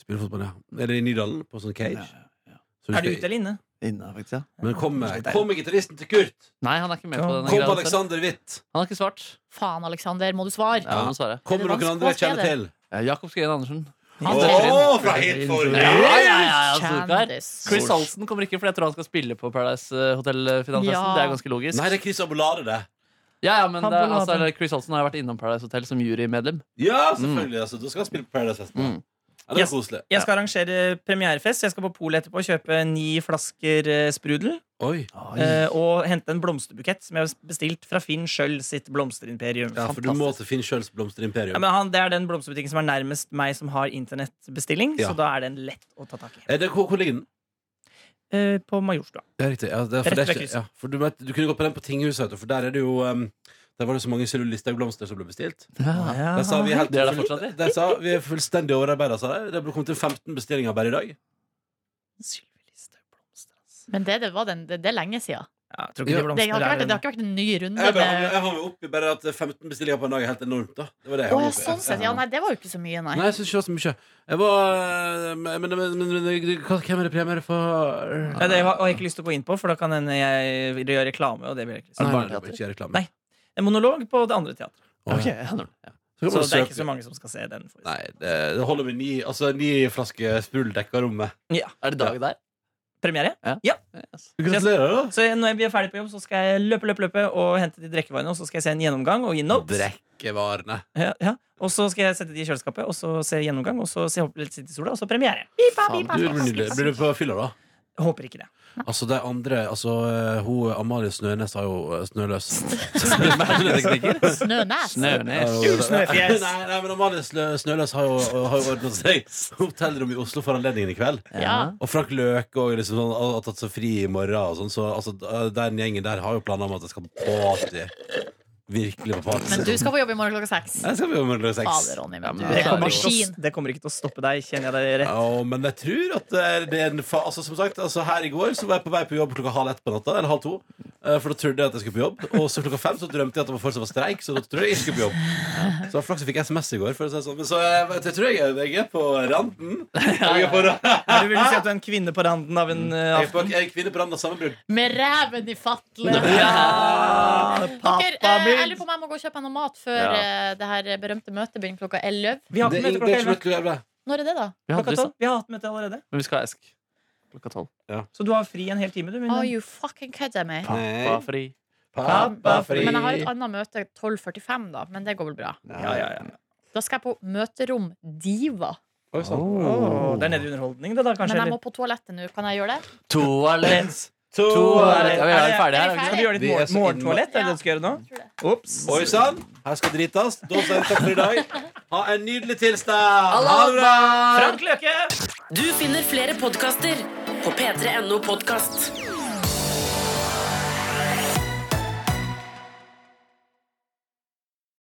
D: spille fotball, ja? Er det i Nydalen, på sånn cage? Så
B: Er du
D: skal-
B: ute eller inne?
C: Inne, faktisk, ja.
D: Men kommer kom gitaristen til Kurt?
C: Nei, han er ikke med på denne
D: Kom
C: greia. selv.
D: Alexander Witt?
C: Han har ikke svart.
E: Faen, Alexander, må du svare?
C: Ja, han må svare.
D: Kommer
E: Er det
D: noen andre jeg kjenner til?
C: Eh, Jakob Skøyen Andersen.
D: Å, fra helt forrige!
C: Ja, ja, ja, ja, storkar.
E: Kjendis.
C: Chris Olsen kommer ikke, for jeg tror han skal spille på Paradise Hotel-finalfesten.
E: Ja.
C: Det er ganske logisk.
B: sånn-
D: Nei, det er Chris Abolade, det.
C: Ja, ja, men
B: Han
C: det, er-
B: burde ha
C: altså,
B: den.
C: eller Chris Olsen har jo vært innom Paradise Hotel som jurymedlem.
D: Ja, selvfølgelig. Altså, du skal spille på Paradise Fest.
C: Mm.
D: Ja, det er
B: Mm. Yes.
D: koselig.
B: Jeg skal arrangere premierefest. så Jeg skal på polet etterpå og kjøpe ni flasker eh, sprudel.
D: Oi.
B: eh, Og hente en blomsterbukett som jeg har bestilt fra Finn sjøl sitt blomsterimperium.
D: Ja, for du må til Finn Schjøls blomsterimperium.
B: Ja, men han, det er den blomsterbutikken som er nærmest meg som har internettbestilling.
D: Ja.
B: Så da er den lett å ta tak i.
D: Er det, hvor, hvor ligger den?
B: Eh, på Majorstua.
D: Ja, riktig. Ja, det, er- for
B: Rett
D: det er
B: ved
D: ikke,
B: krysset.
D: ja, for du, vet- du kunne gått på den på Tinghuset, vet du, for der er det jo um, Der var det så mange Sylvi Listhaug-blomster som ble bestilt.
C: Ja.
D: Der sa vi, helt,
C: Det er der fortsatt, de.
D: der sa, vi er fullstendig overarbeida, sa de. Det ble kommet til 15 bestillinger bare i dag.
B: Sylvi Listhaug blomster, ass.
E: Men det, det, var den, det, det er lenge siden.
B: Ja,
D: Ja.
B: jeg tror ikke de
E: Det har,
B: blomstene
E: ikke vært, det
B: er
E: har ikke vært en ny runde.
D: Jeg, bare,
E: med-
D: jeg har meg opp i bare at 15 bestillinger på en dag er helt enormt, da. Det var det jeg
E: Å,
D: hang
E: ja,
D: opp i.
E: sånn sett. Ja, nei, det var jo ikke så mye, nei.
D: Nei, jeg syns ikke det var så mye. Jeg var eh, Men, men, men, men, men hva- hvem er det premiere for?
B: Ja, det har har jeg ikke lyst til å gå inn på, for da kan hende jeg vil gjøre reklame. Og det vil jeg ikke lyst
D: Nei,
B: til.
D: nei, det var ikke reklame.
B: Nei. En monolog på det andre teatret.
D: Å, ja.
C: Ok, ja, nå- ja.
D: Så kan
B: Så
D: man
B: det er ikke
D: søke-
B: så mange som skal se den. forestillingen.
D: Nei, det, det holder med ni, altså, ni flasker sprudel dekka rommet.
B: Ja.
C: Er det dag der?
B: Premiere?
C: Yes.
D: Gratulerer, da.
B: Så når jeg blir ferdig på jobb, så skal jeg løpe, løpe, løpe og hente de drikkevarene. Og så skal jeg se en gjennomgang og gi notes.
D: Drikkevarene.
B: Ja, ja. Og så skal jeg sette de i kjøleskapet, og så se gjennomgang, og så se opp litt sitt i sola, og så premiere. Pipa,
C: Faen,
B: pipa.
D: Du, det blir nydelig. Blir du på fylla, da?
B: Håper ikke det.
D: Altså, de andre Altså, eh, hun Amalie Snønes har jo eh, Snøløs.
E: Snønes.
D: Ja,
C: Snønes.
D: hun-
B: Snøfjes.
D: Nei, nei, men Amalie Snø- Snøløs har jo, eh, har jo ordnet seg hotellrom i Oslo for anledningen i kveld.
E: Ja.
D: Og Frank Løke og liksom sånn, og har tatt seg fri i morgen. Og sånn, så altså, den gjengen der har jo planer om at det skal på party. Virkelig på party.
E: Men du skal på jobb i morgen klokka seks.
D: Jeg skal bli med klokka seks.
E: Fader, Ronny,
C: Ja,
E: men du
C: men
B: Det
E: er
C: klarer
B: kommer,
E: en
C: jo.
B: ikke til å,
E: maskin.
B: s- det kommer ikke til å stoppe deg, kjenner jeg deg rett.
D: Ja, men jeg tror at det er, det er en fa altså, Som sagt, altså, her i går så var jeg på vei på jobb klokka halv ett på natta. Eller halv to. eh, For da trodde jeg at jeg skulle på jobb. Og så klokka fem så drømte jeg at det var fortsatt var streik. Så da trodde jeg jeg skulle på jobb. Så det var flaks jeg fikk SMS i går. For å si det sånn. Men så jeg, jeg tror jeg, er- jeg er på randen. Jeg er på, ra-
B: Er du vil si at du er en kvinne på randen av en uh,
D: jeg er på, jeg er kvinne på randen av sammenbrudd.
E: Med ræven i fatle. Dere, eh, jeg lurer
B: pappabil?
E: på om jeg må gå og kjøpe meg noe mat før
C: Ja.
E: eh, det her berømte møtet begynner klokka 11.
B: Vi har
D: Det
B: hatt
D: er
B: møte
D: ikke det er ikke
B: klokka elleve.
D: mye til å gjøre.
E: Når er det, da?
C: Vi hadde
B: Klokka
C: lyst,
B: tolv. Vi har hatt møte allerede.
C: men vi skal ha Esk. Klokka tolv.
B: Så du har fri en hel time, du. min
E: Are
B: venn.
E: you fucking kidding me?
C: Pappa fri.
D: Pappafri.
E: Men jeg har et annet møte 12.45, da. Men det går vel bra.
D: Ja, ja, ja.
E: Da skal jeg på møterom Diva.
D: Oi, sånn.
B: Åh, det er nede i underholdning, det, da, kanskje?
E: Men jeg
B: eller?
E: må på toalettet nå. Kan jeg gjøre det?
C: Toalett!
B: Toalett.
C: Toalett. Ja, vi er jo ferdige her. er
E: Er vi
C: vi ikke det?
E: ferdige?
B: Skal du gjøre ditt
D: Vi er
B: mor
D: så
B: morgentoalett? Er det
E: innmari-
B: det du skal gjøre nå?
E: Jeg tror det.
B: Ops.
D: Oi sann, her skal dritas. Da sier vi takk for i dag. Ha en nydelig tilstand. Ha det bra.
B: Frank Løke!
A: Du finner flere podkaster på p3.no podkast.